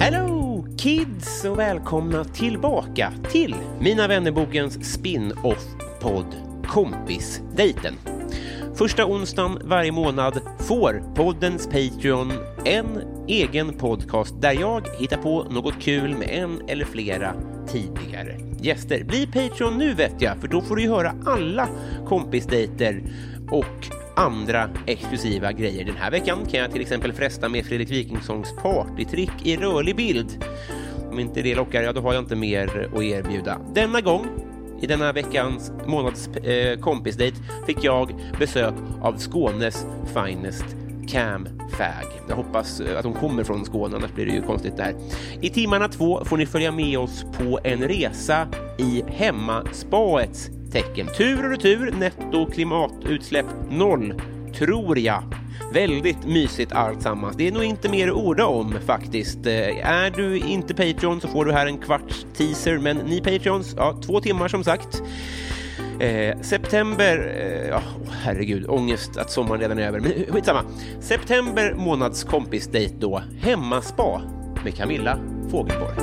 Hello kids och välkomna tillbaka till Mina vännerbokens spin-off-podd Kompisdejten. Första onsdagen varje månad får poddens Patreon en egen podcast där jag hittar på något kul med en eller flera tidigare gäster. Bli Patreon nu vet jag, för då får du ju höra alla kompisdejter och andra exklusiva grejer. Den här veckan kan jag till exempel fresta med Fredrik Wikingssons partytrick i rörlig bild. Om inte det lockar, ja då har jag inte mer att erbjuda. Denna gång, i denna veckans månads eh, kompisdejt, fick jag besök av Skånes finest Cam Fag. Jag hoppas eh, att hon kommer från Skåne, annars blir det ju konstigt det här. I timmarna två får ni följa med oss på en resa i hemmaspaets tecken. Tur och retur, netto klimatutsläpp noll, tror jag. Väldigt mysigt alltsammans. Det är nog inte mer att orda om faktiskt. Eh, Är du inte Patreon så får du här en kvarts teaser, men ni Patreons, ja, två timmar som sagt. Eh, september, eh, ja, åh, herregud, ångest att sommaren redan är över, men skitsamma. September månads kompisdejt då, hemmaspa med Camilla Fogelborg.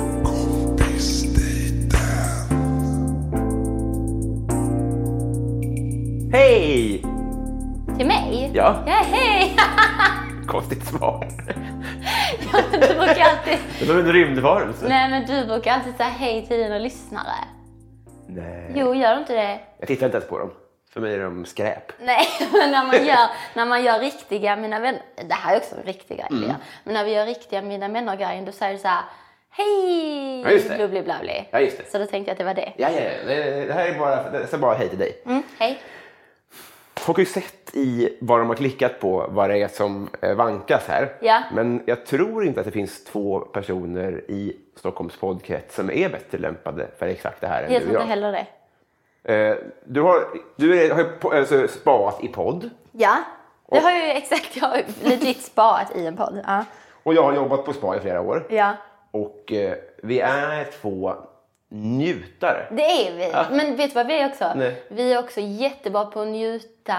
Hej! Till mig? Ja. Ja, hej! Konstigt svar. Ja, men du brukar alltid... Det var en rymdvarelse. Nej, men du brukar alltid säga hej till dina lyssnare. Nej. Jo, gör du inte det? Jag tittar inte ens på dem. För mig är de skräp. Nej, men när man gör, när man gör riktiga Mina vänner... Det här är också en riktig grej Mm. vi gör. Men när vi gör riktiga Mina vänner-grejen, då säger du så här... Hej! Ja, just det. Blubbli blabbli. Ja, just det. Så då tänkte jag att det var det. Ja, ja, ja. Det det här är bara, det är bara hej till dig. Mm, hej. Folk har ju sett i vad de har klickat på vad det är som eh, vankas här. Ja. Men jag tror inte att det finns två personer i Stockholms poddkrets som är bättre lämpade för exakt det här än Jag du tror och inte jag. heller det. Eh, du har, du är, har ju po- alltså, spaat i podd Ja. Det har ju exakt, jag har ju legit sparat i en podd. Ja. och jag har jobbat på spa i flera år. ja. Och eh, vi är två njutare. Det är vi. Men vet du vad vi är också? Nej. Vi är också jättebra på att njuta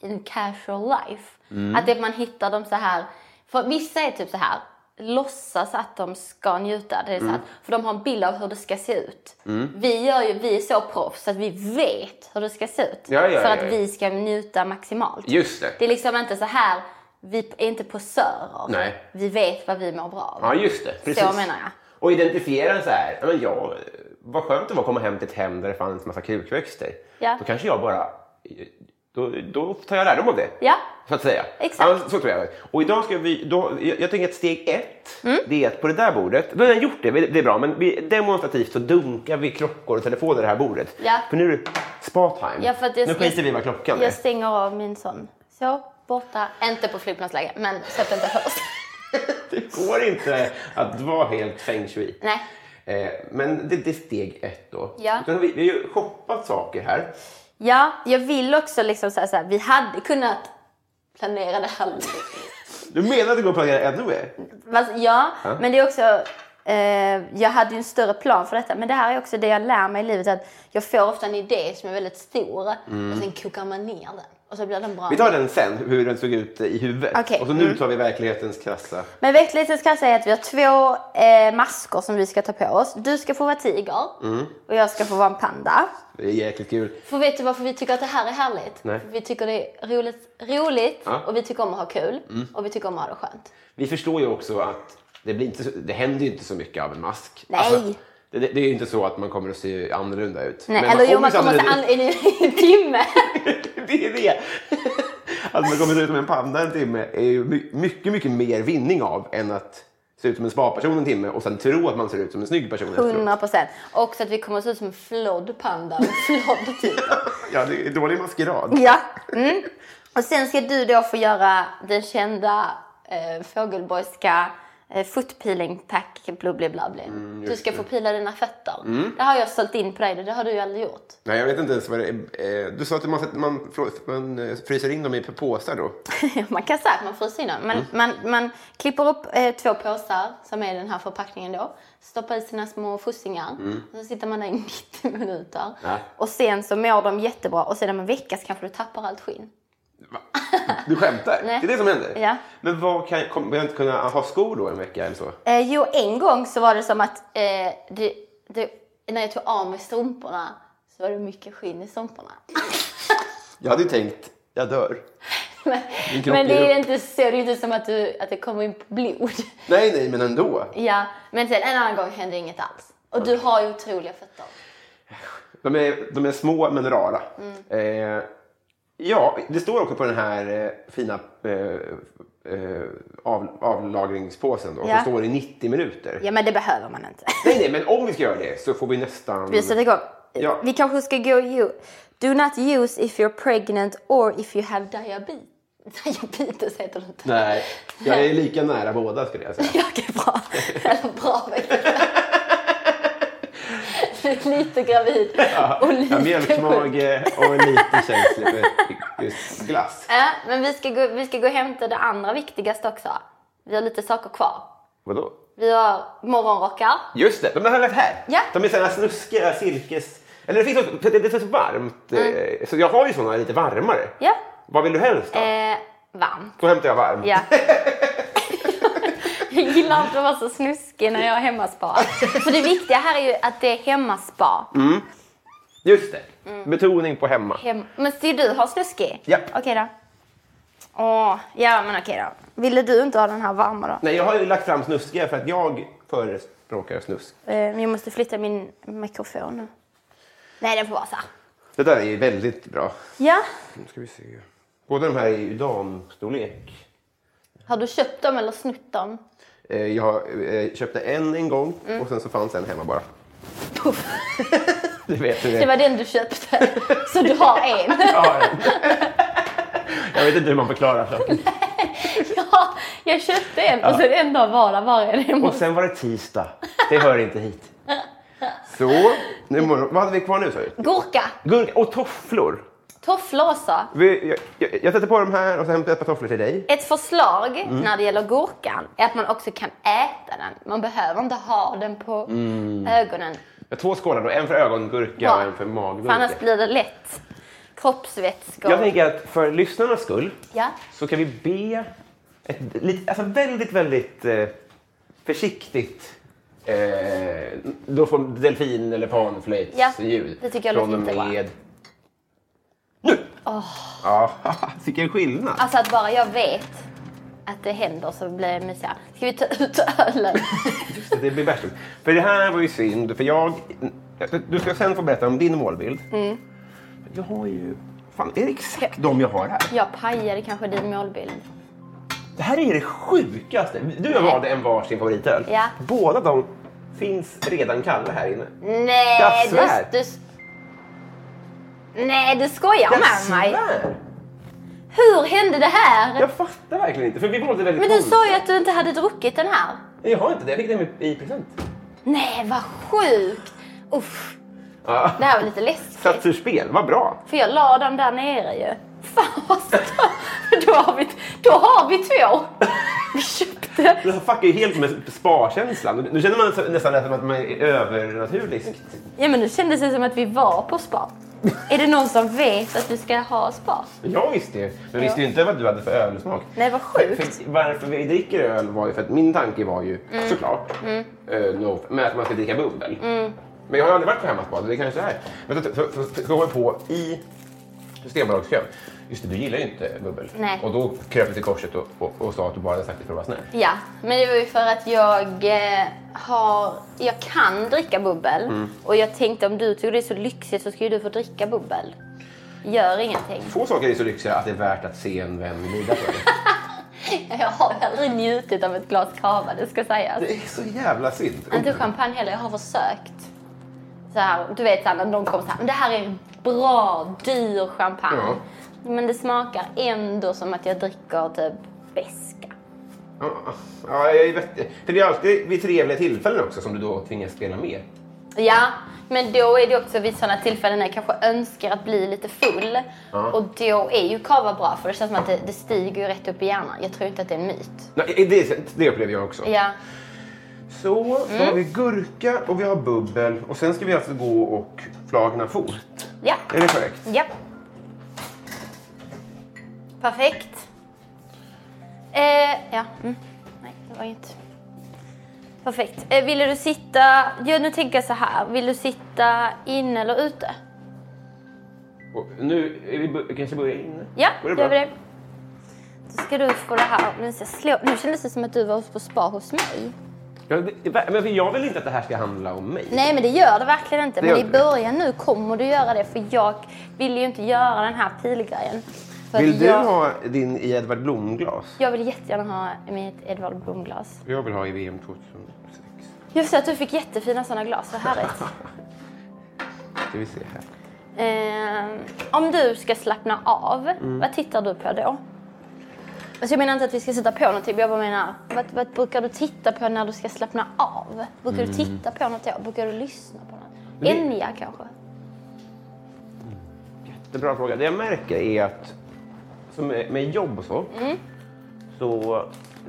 in casual life. Mm. Att det, man hittar dem så här. För vissa är typ så här låtsas att de ska njuta. Det är så Mm. här, För de har en bild av hur det ska se ut. Vi, gör ju, vi är så proffs att vi vet hur det ska se ut. Ja, ja, för ja, att ja. vi ska njuta maximalt. Just det. Det är liksom inte så här, vi är inte posörer. Nej. Vi vet vad vi mår bra av. Ja, just det. Precis. Så menar jag. Och identifiera så här. ja, Men jag, vad skönt det var att komma hem till ett hem där det fanns massa krukväxter. Ja. Då kanske jag bara... Då, då tar jag lärdom av det. Ja. Så att säga. Exakt. Ja, så tror jag. Och idag ska vi... Då, jag, jag tänker att steg ett, Mm. det är att på det där bordet, då har jag gjort det, det är bra, men vi, demonstrativt så dunkar vi klockor och telefoner i det här bordet. Ja. För nu är det spa-time. Ja, för att jag- nu skiter vi i vad klockan är. Jag stänger av min son. Så, borta. Inte på flygplansläge, men så att det inte hörs. Det går inte att vara helt feng shui. Nej. Eh, men det, det är steg ett då. Ja. Sen har vi, vi har ju shoppat saker här. Ja, jag vill också liksom säga så här, vi hade kunnat planera det här lite. Du menar att det går att planera ännu mer? Fast, ja, men det är också... Eh, jag hade ju en större plan för detta, men det här är också det jag lär mig i livet. Att jag får ofta en idé som är väldigt stor och sen kokar man ner den och så blir den bra. Mm. Vi tar den sen, hur den såg ut i huvudet. Okej. Mm. Och så nu tar vi verklighetens krassa. Men verklighetens kassa är att vi har två eh, masker som vi ska ta på oss. Du ska få vara tiger Mm. och jag ska få vara en panda. Det är jäkligt kul. För vet du varför vi tycker att det här är härligt? Nej. För vi tycker det är roligt, roligt Ja. Mm. och vi tycker om att ha kul och vi tycker om att ha det skönt. Vi förstår ju också att det, blir inte, så- det händer ju inte så mycket av en mask. Alltså, Nej. det, det är ju inte så att man kommer att se annorlunda ut. Nej, Men eller jo, kommer man se kommer se annorlunda an i en timme. ut. Det är det. Att man kommer se ut som en panda en timme är ju my- mycket, mycket mer vinning av än att se ut som en spa-person en timme och sen tro att man ser ut som en snygg person efteråt. 100 procent. Och så att vi kommer att se ut som en flodd panda. En flodd typ. Ja, det är dålig maskerad. ja. Mm. Och sen ska du då få göra den kända eh, fågelborgska eh, footpeeling pack blubbli-blabbli. Mm, du ska få pila dina fötter. Det har jag sålt in på dig. Det har du ju aldrig gjort. Nej, jag vet inte ens vad det är. Eh, Du sa att man, sätter- man, frå- man eh, fryser in dem i påsar då. man kan säga att man fryser in dem. Man, man, man klipper upp eh, två påsar som är i den här förpackningen då. Stoppar i sina små fussingar. Och så sitter man där i 90 minuter. Ja. Och sen så mår de jättebra. Och sen om en vecka så kanske du tappar allt skinn. Va? Du skämtar? Nej. Det är det som händer? Ja. Men vad kan, kommer jag inte kunna ha skor då en vecka eller så? Eh, jo, en gång så var det som att eh, det, det, när jag tog av mig strumporna så var det mycket skinn i strumporna. Jag hade ju tänkt, jag dör. Men, Din kropp men ger det upp. är inte så. Det är inte som att, du, att det kommer in blod. Nej, nej, men ändå. ja, men sen en annan gång hände inget alls. Och du har ju otroliga fötter. De är, de är små men rara. Mm. Eh, ja, det står också på den här eh, fina eh, eh, av, avlagringspåsen då, Ja. som står i 90 minuter. Ja, men det behöver man inte. Nej, nej, men om vi ska göra det så får vi nästan... Vi sätter igång. Ja. Vi kanske ska gå... ju- Do not use if you're pregnant or if you have diabetes. Diabetes heter det inte. Nej, jag är lika nära båda skulle jag säga. Ja, Okej, bra. Eller bra Victoria. Lite gravid Ja, och liksom lite sjuk. mjölkmage och lite känslig för just glass. Ja, men vi ska, gå, vi ska gå och hämta det andra viktigaste också. Vi har lite saker kvar. Vadå? Vi har morgonrockar. Just det, de har lagt här. Ja. De är sådana snuskiga silkes... Eller det finns också, för det det är så varmt. eh, Så jag har ju sådana lite varmare. Mm. Ja. Vad vill du helst då? Eh, varmt. Då hämtar jag varm. Ja. Jag gillar inte att vara så snuskig när jag har hemmaspa. För det viktiga här är ju att det är hemmaspa. Mm. Just det. Mm. Betoning på hemma. Hem... Men ser du har snuskig? Ja. Okej då. Åh, ja men okej då. Ville du inte ha den här varma då? Nej, jag har ju lagt fram snuskiga för att jag förespråkar snusk. Eh, men jag måste flytta min mikrofon nu. Nej, den får vara så här. Det där är ju väldigt bra. Ja. Nu ska vi se. Båda de här är ju damstorlek. Har du köpt dem eller snott dem? Eh, Jag eh, köpte en en gång och sen så fanns en hemma bara. du vet hur det Det är. var den du köpte. Så du har en. Ja, ja. Jag vet inte hur man förklarar saker. Ja, jag köpte en och sen en dag var där var en hemma. Och sen var det tisdag. Det hör inte hit. Så, nu morgon. Vad hade vi kvar nu sa du? Gurka, Gurka och tofflor. tofflor också. Vi, jag, jag, jag sätter på de här och sen hämtar jag ett par tofflor till dig. Ett förslag när det gäller gurkan är att man också kan äta den. Man behöver inte ha den på ögonen. Jag har två skålar då, en för ögongurka och en för För annars maggurka. blir det lätt kroppsvätskor. Jag tänker att för lyssnarnas skull Ja. så kan vi be ett lit- alltså väldigt, väldigt eh, försiktigt eh, då får delfin eller Ja, panflöjtsljud. det tycker jag från låter och jättebra. med... Nu! Ja, vilken skillnad. Alltså att bara jag vet att det händer så blir jag mysigare. Ska vi ta ut ölen? Det blir värst. För det här var ju synd, för jag... Du ska sen få berätta om din målbild. Mm. Jag har ju... Fan, är det exakt de jag har här? jag pajade kanske din målbild. Det här är det sjukaste. Du och jag valde en varsin favoritöl. Ja. Båda de finns redan kalla här inne. Nej, Jag du, svär. du... Nej, du skojar Jag med mig. svär! Hur hände det här? Jag fattar verkligen inte, för vi valde väldigt Men du konstiga. sa ju att du inte hade druckit den här. Jag har inte det, jag fick den i present. Nej, vad sjukt! Uff, Ja. det här var lite läskigt. Ah. Satt ur spel, vad bra. För jag la dem där nere ju. Fan vad stört. då, har vi, då har vi två! Vi köpte. Det här fuckar ju helt med sparkänslan. Nu känner man så- nästan som att man är övernaturligt. Ja men nu kändes det som att vi var på spa. Är det någon som vet att vi ska ha spa? Jag visste ju, men visste ju inte vad du hade för ölsmak. Nej vad sjukt. Mm. För varför vi dricker öl var ju för att min tanke var ju såklart eh, no, med att man ska dricka Mm. bubbel. Men jag har aldrig varit på hemmaspa, så det kanske är. Men så, så, så, så, så håller jag på i Systembolagskön. Just det, du gillar ju inte bubbel. Nej. Och då kröp du till korset och, och, och sa att du bara hade sagt det för att vara snäll. Ja, men det var ju för att jag eh, har... Jag kan dricka bubbel. Och jag tänkte om du tycker det är så lyxigt så ska ju du få dricka bubbel. Gör ingenting. Få saker är så lyxiga att det är värt att se en vän lida för det. Jag har aldrig njutit av ett glas cava, det ska sägas. Det är så jävla synd. Inte champagne heller, jag har försökt. Så här, du vet så här, när någon kommer så här, "Men det här är bra, dyr champagne. Ja. Men det smakar ändå som att jag dricker typ beska. Ja, jag vet För det är alltid vid trevliga tillfällen också som du då tvingas spela med. Ja, men då är det också vid sådana tillfällen när jag kanske önskar att bli lite full. Och då är ju cava bra för det känns som att det, det stiger ju rätt upp i hjärnan. Jag tror inte att det är en myt. Nej, det, det upplever jag också. Ja, Mm. Så, då har vi gurka och vi har bubbel och sen ska vi alltså gå och flagna fot. ja, Är det korrekt? ja. Perfekt. Eh, ja, mm. nej det var inget. Perfekt. Eh, ville du sitta, ja, nu tänker jag så här. Vill du sitta inne eller ute? Och nu är vi bu- kanske börjar inne? Ja, Går gör bra? vi det. Då ska du få det här. Nu, ska jag slå. nu kändes det som att du var på spa hos mig. Ja, det- det, men för jag vill inte att det här ska handla om mig. Nej, men det gör det verkligen inte. Det men gör i inte det. början nu kommer du göra det för jag vill ju inte göra den här pilgrejen. För att Vill du jag, ha din i Edvard Blom-glas? Jag vill jättegärna ha mitt Edvard Blom-glas. Jag vill ha i VM 2006. Jag förstår att du fick jättefina sådana glas. Vad härligt. Ska vi se här. Ehm, om du ska slappna av, Mm. vad tittar du på då? Alltså jag menar inte att vi ska sitta på någonting, men jag bara menar, vad, vad brukar du titta på när du ska slappna av? Brukar du titta på något då? Brukar du lyssna på något? Mm. Men det- Enya kanske? Det är en bra fråga. Det jag märker är att som med med jobb och så, Mm. så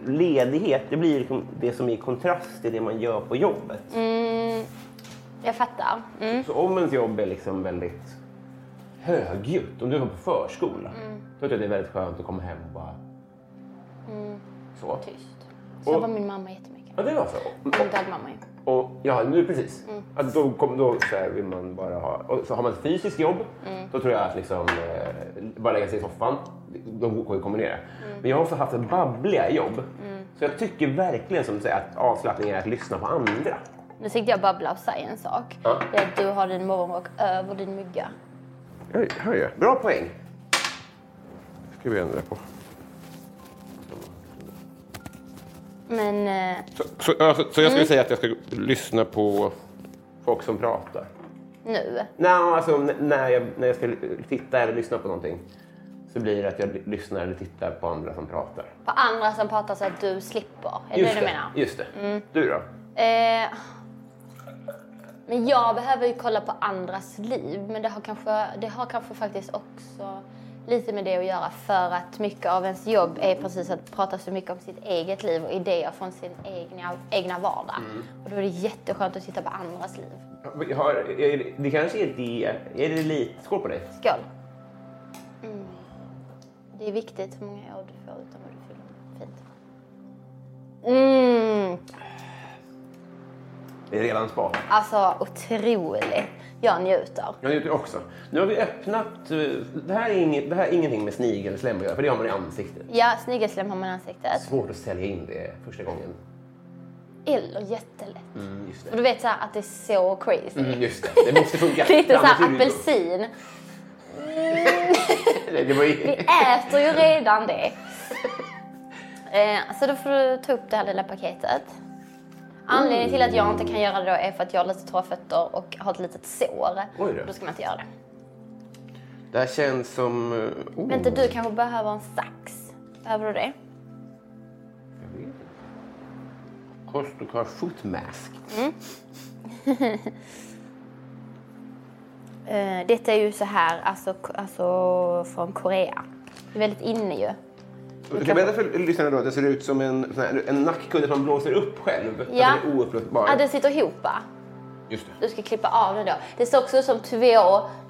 ledighet det blir liksom det som är i kontrast till det man gör på jobbet. Jag fattar. Mm. Så om ens jobb är liksom väldigt högljutt, om du är på förskola, Mm. då tror jag det är väldigt skönt att komma hem och bara... Så. Mm. Tyst. Så Och- var min mamma jättemycket. Ja, det var så. Min dagmamma ju. Och, ja, nu precis. Mm. Att då kom, då så här vill man bara ha... Och så har man ett fysiskt jobb, Mm. då tror jag att liksom, eh, bara lägga sig i soffan, de går ju att kombinera. Mm. Men jag har också haft ett babbliga jobb. Så jag tycker verkligen som du säger att avslappning är att lyssna på andra. Nu tänkte jag babbla och säga en sak. Ja. Det är att du har din morgonrock över din mygga. Hör jag. Bra poäng. ska vi ändra på. Men eh, Så, så, ja, så, så jag skulle Mm. säga att jag ska lyssna på folk som pratar? nu. Nej, alltså n- när jag, när jag ska l- titta eller lyssna på någonting så blir det att jag l- lyssnar eller tittar på andra som pratar. På andra som pratar så att du slipper. Är det det du menar? Mm. Just det. Du då? Eh, men jag behöver ju kolla på andras liv. Men det har, kanske, det har kanske faktiskt också lite med det att göra. För att mycket av ens jobb är precis att prata så mycket om sitt eget liv och idéer från sin egna, egna vardag. Och då är det jätteskönt att titta på andras liv. Jag Har, är det- det kanske är det... Är det lite... Skål på dig. Skål! Mm. Det är viktigt hur många år du får utan vad du fyller. Fint. Mm. Det är redan spa. Alltså otroligt. Jag njuter. Jag njuter också. Nu har vi öppnat... eh, Det här är, inget, det här är ingenting med snigelsläm att göra, för det har man i ansiktet. Ja, snigelslem har man i ansiktet. Svårt att sälja in det första gången. Eller jättelätt. Mm, Just Och det. du vet så här att det är så crazy. Mm, Just det. Det måste funka. Det är inte så här Dramaturgiskt. apelsin. Nej, Det var ju... Vi äter ju redan det. Eh, så då får du ta upp det här lilla paketet. Anledningen till att jag inte kan göra det då är för att jag har lite torra fötter och har ett litet sår. Oj då. Då ska man inte göra det. Det här känns som... eh, Oh. Men inte du kanske behöver en sax? Behöver du det? Jag vet inte. Kostokar foot mask. Mm. Eh, detta är ju så här, alltså, alltså från Korea. Det är väldigt inne ju. Du kan berätta för lyssnarna då att det ser ut som en, sån här, en nackkudde som blåser upp själv. Ja. Att den är ouppblåsbar. Ja, den sitter ihop va? Just det. Du ska klippa av den då. Det ser också ut som två,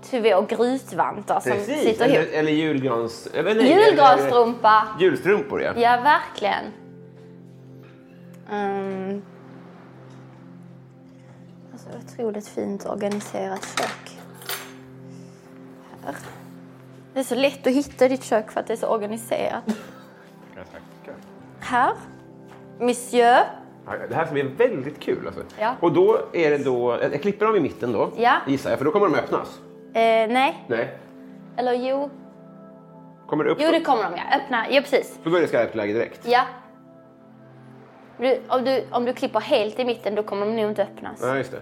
två grytvantar som Precis. sitter Eller, ihop. eller julgrans... eller nej, eller- Julgransstrumpa! Julstrumpor, ja. Ja, verkligen. Um, alltså, otroligt fint organiserat kök. Här. Det är så lätt att hitta i ditt kök för att det är så organiserat. Här. Monsieur. Ja, Det här ska bli väldigt kul. Alltså. Ja. Och då är det då, jag klipper dem i mitten då, Ja. gissar jag, för då kommer de öppnas. Eh, nej. Nej. Eller jo. Kommer det upp? Jo, det kommer de ja. Öppna. Ja, precis. För då är det skarpt läge direkt. Ja. Du, om, du, om du klipper helt i mitten då kommer de nog inte öppnas. Nej, just det.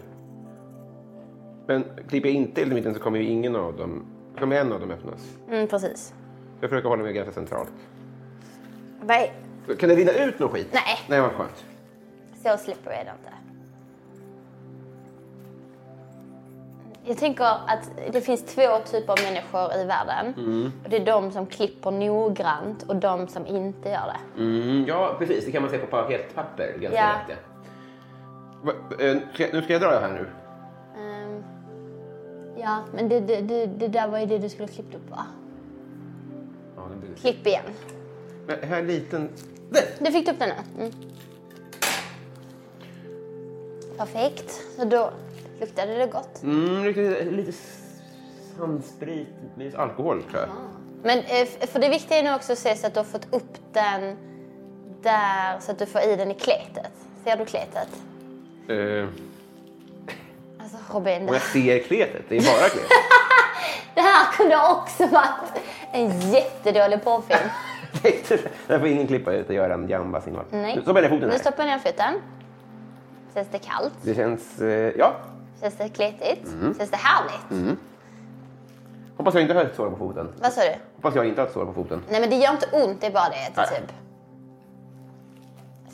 Men klipper jag inte helt i mitten så kommer ju ingen av dem, kommer en av dem öppnas. Mm, precis. Jag försöker hålla mig ganska centralt. Nej, Så Kan det rinna ut någon skit? Nej. Nej, vad skönt. så slipper jag det inte. Jag tänker att det finns två typer av människor i världen. Mm. Och det är de som klipper noggrant och de som inte gör det. Mm, ja, precis. Det kan man se på paketpapper ganska Ja. lätt. Va, eh, ska, nu ska jag dra det här nu. Ehm, ja, men det, det, det, det där var ju det du skulle ha klippt upp va? Ja, det blir... Klipp igen. Men här är en liten... Där! Du fick upp den nu? Mm. Perfekt. Så då luktade det gott. Mm, lite, lite sandsprit, minus alkohol tror jag. Men eh, f- för det viktiga är nu också att se så att du har fått upp den där så att du får i den i kletet. Ser du kletet? Eh, Alltså Robin, och det, jag ser kletet, det är bara kletet. det här kunde också varit en jättedålig porrfilm. Där får ingen klippa ut och göra en jamba-signal. Nej. Nu stoppar jag ner foten Nu här. stoppar jag ner foten. Känns det kallt? Det känns... Eh, ja. Känns det kletigt? Känns det härligt? Hoppas jag inte har ett sår på foten. Vad sa du? Hoppas jag inte har ett sår på foten. Nej men det gör inte ont, det är bara det Nej. typ.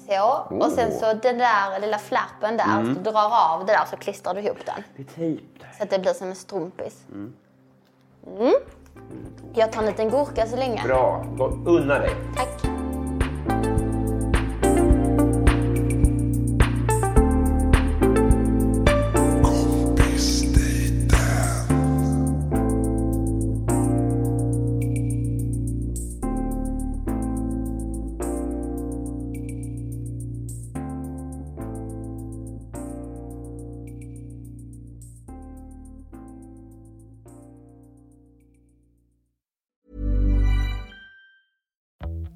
Så, och sen så Oh. den där lilla flärpen där, Mm. så du drar av det där så klistrar du ihop den. Det är tejp där. Så att det blir som en strumpis. Mm. Jag tar en liten gurka så länge. Bra. Gå- Unna dig. Tack.